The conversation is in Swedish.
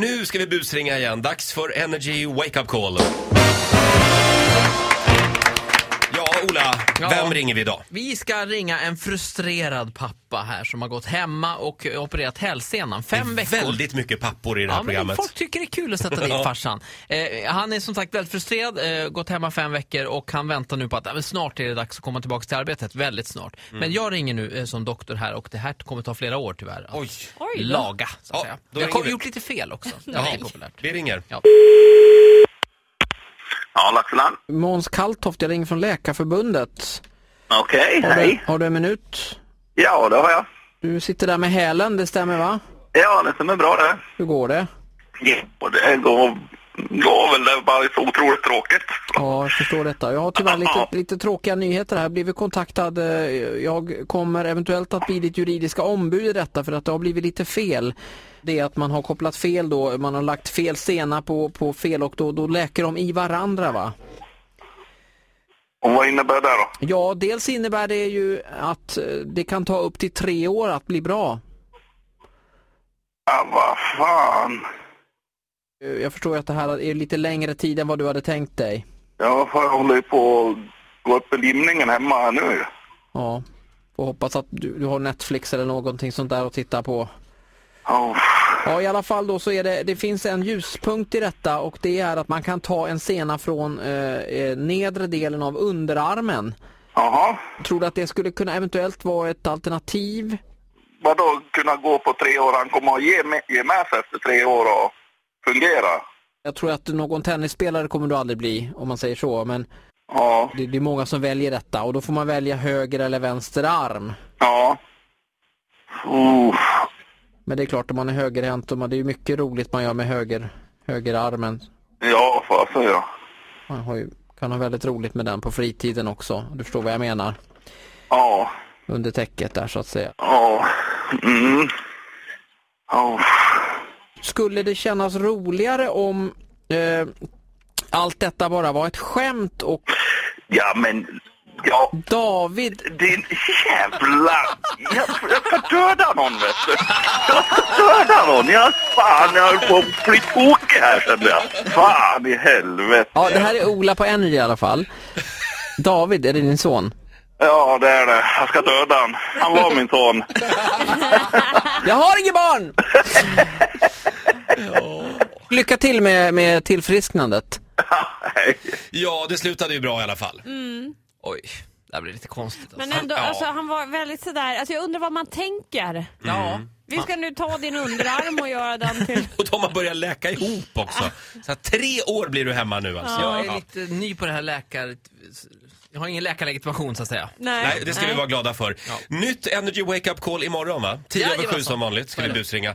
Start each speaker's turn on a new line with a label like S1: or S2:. S1: Nu ska vi busringa igen. Dags för Energy Wake Up Call. Ja, Ola,
S2: Ja.
S1: vem ringer vi idag?
S2: Vi ska ringa en frustrerad pappa här som har gått hemma och eh, opererat hälsenan. Fem veckor.
S1: Väldigt mycket pappor i det här
S2: Ja, men
S1: programmet.
S2: folk tycker det är kul att sätta dit
S1: Ja.
S2: farsan. Eh, han är som sagt väldigt frustrerad, eh, gått hemma fem veckor och han väntar nu på att "Ja, men snart är det dags att komma tillbaka till arbetet. Väldigt snart.
S1: Mm.
S2: Men jag ringer nu eh, som doktor här och det här kommer ta flera år tyvärr. Att
S1: Oj,
S3: Oj då.
S2: Laga, så att
S1: Ja,
S2: säga.
S1: då
S2: Jag
S1: ringer
S2: har
S1: vi.
S2: gjort lite fel också. Ja, det är populärt.
S1: vi ringer.
S2: Ja.
S4: Ja, Laxland.
S5: Måns Kalltoft, jag ringer från Läkarförbundet.
S4: Okej,
S5: Har du,
S4: hej.
S5: har du en minut?
S4: Ja, det har jag.
S5: Du sitter där med hälen, det stämmer va?
S4: Ja, det stämmer bra det.
S5: Hur går det?
S4: Ja, och det går, går väl. Det är bara så otroligt tråkigt.
S5: Ja, jag förstår detta. Jag har tyvärr lite, lite tråkiga nyheter här. Blivit kontaktad. eh, Jag kommer eventuellt att bli ditt juridiska ombud i detta för att det har blivit lite fel. Det är att man har kopplat fel då, man har lagt fel stenar på, på fel och då, då läker de i varandra va?
S4: Och vad innebär det då?
S5: Ja, dels innebär det ju att eh, det kan ta upp till tre år att bli bra.
S4: Ja, vad fan.
S5: Eh, Jag förstår ju att det här är lite längre tid än vad du hade tänkt dig.
S4: Ja, fan, jag håller ju på att gå upp i limningen hemma här nu.
S5: Ja, får hoppas att du, du har Netflix eller någonting sånt där att titta på.
S4: Ja,
S5: Ja, i alla fall då så är det, det finns en ljuspunkt i detta och det är att man kan ta en sena från eh, eh, nedre delen av underarmen.
S4: Jaha.
S5: Tror du att det skulle kunna eventuellt vara ett alternativ?
S4: Vadå kunna gå på tre år? Han kommer att ge, med- ge med sig efter tre år och fungera.
S5: Jag tror att någon tennisspelare kommer du aldrig bli om man säger så, men
S4: Ja,
S5: det, det är många som väljer detta och då får man välja höger eller vänster arm.
S4: ja. Uff.
S5: Men det är klart om man är högerhänt, och man, det är ju mycket roligt man gör med höger, högerarmen.
S4: Ja, fasen ja.
S5: Man har ju, kan ha väldigt roligt med den på fritiden också. Du förstår vad jag menar.
S4: Ja.
S5: Under täcket där så att säga.
S4: Ja. Mm. Ja.
S5: Skulle det kännas roligare om eh, allt detta bara var ett skämt och
S4: Ja, men... Ja,
S5: David,
S4: din jävla... Jag, jag ska döda någon, vet du. Jag ska döda någon. Jag, fan, jag höll på att bli tokig här, kände jag. Fan i helvete.
S5: ja det här är Ola på Energy i alla fall. David, är det din son?
S4: Ja, det är det. Jag ska döda han. Han var min son.
S5: Jag har inget barn! Lycka till med, med tillfrisknandet.
S1: Ja, det slutade ju bra i alla fall.
S2: Mm. Oj, det här blir lite konstigt. Alltså.
S3: Men ändå,
S1: Ja.
S3: alltså, han var väldigt sådär, alltså, jag undrar vad man tänker.
S2: Ja.
S3: Vi ska nu ta din underarm och göra den till...
S1: Och de har börjat läka ihop också. Så att tre år blir du hemma nu alltså.
S2: Jag är lite ny på det här läkar... Jag har ingen läkarlegitimation så att säga.
S3: Nej,
S1: Nej, det ska vi vara glada för.
S2: Ja.
S1: Nytt Energy Wake Up Call imorgon va? 10 över 7
S2: Jajamensan.
S1: som vanligt ska vi busringa.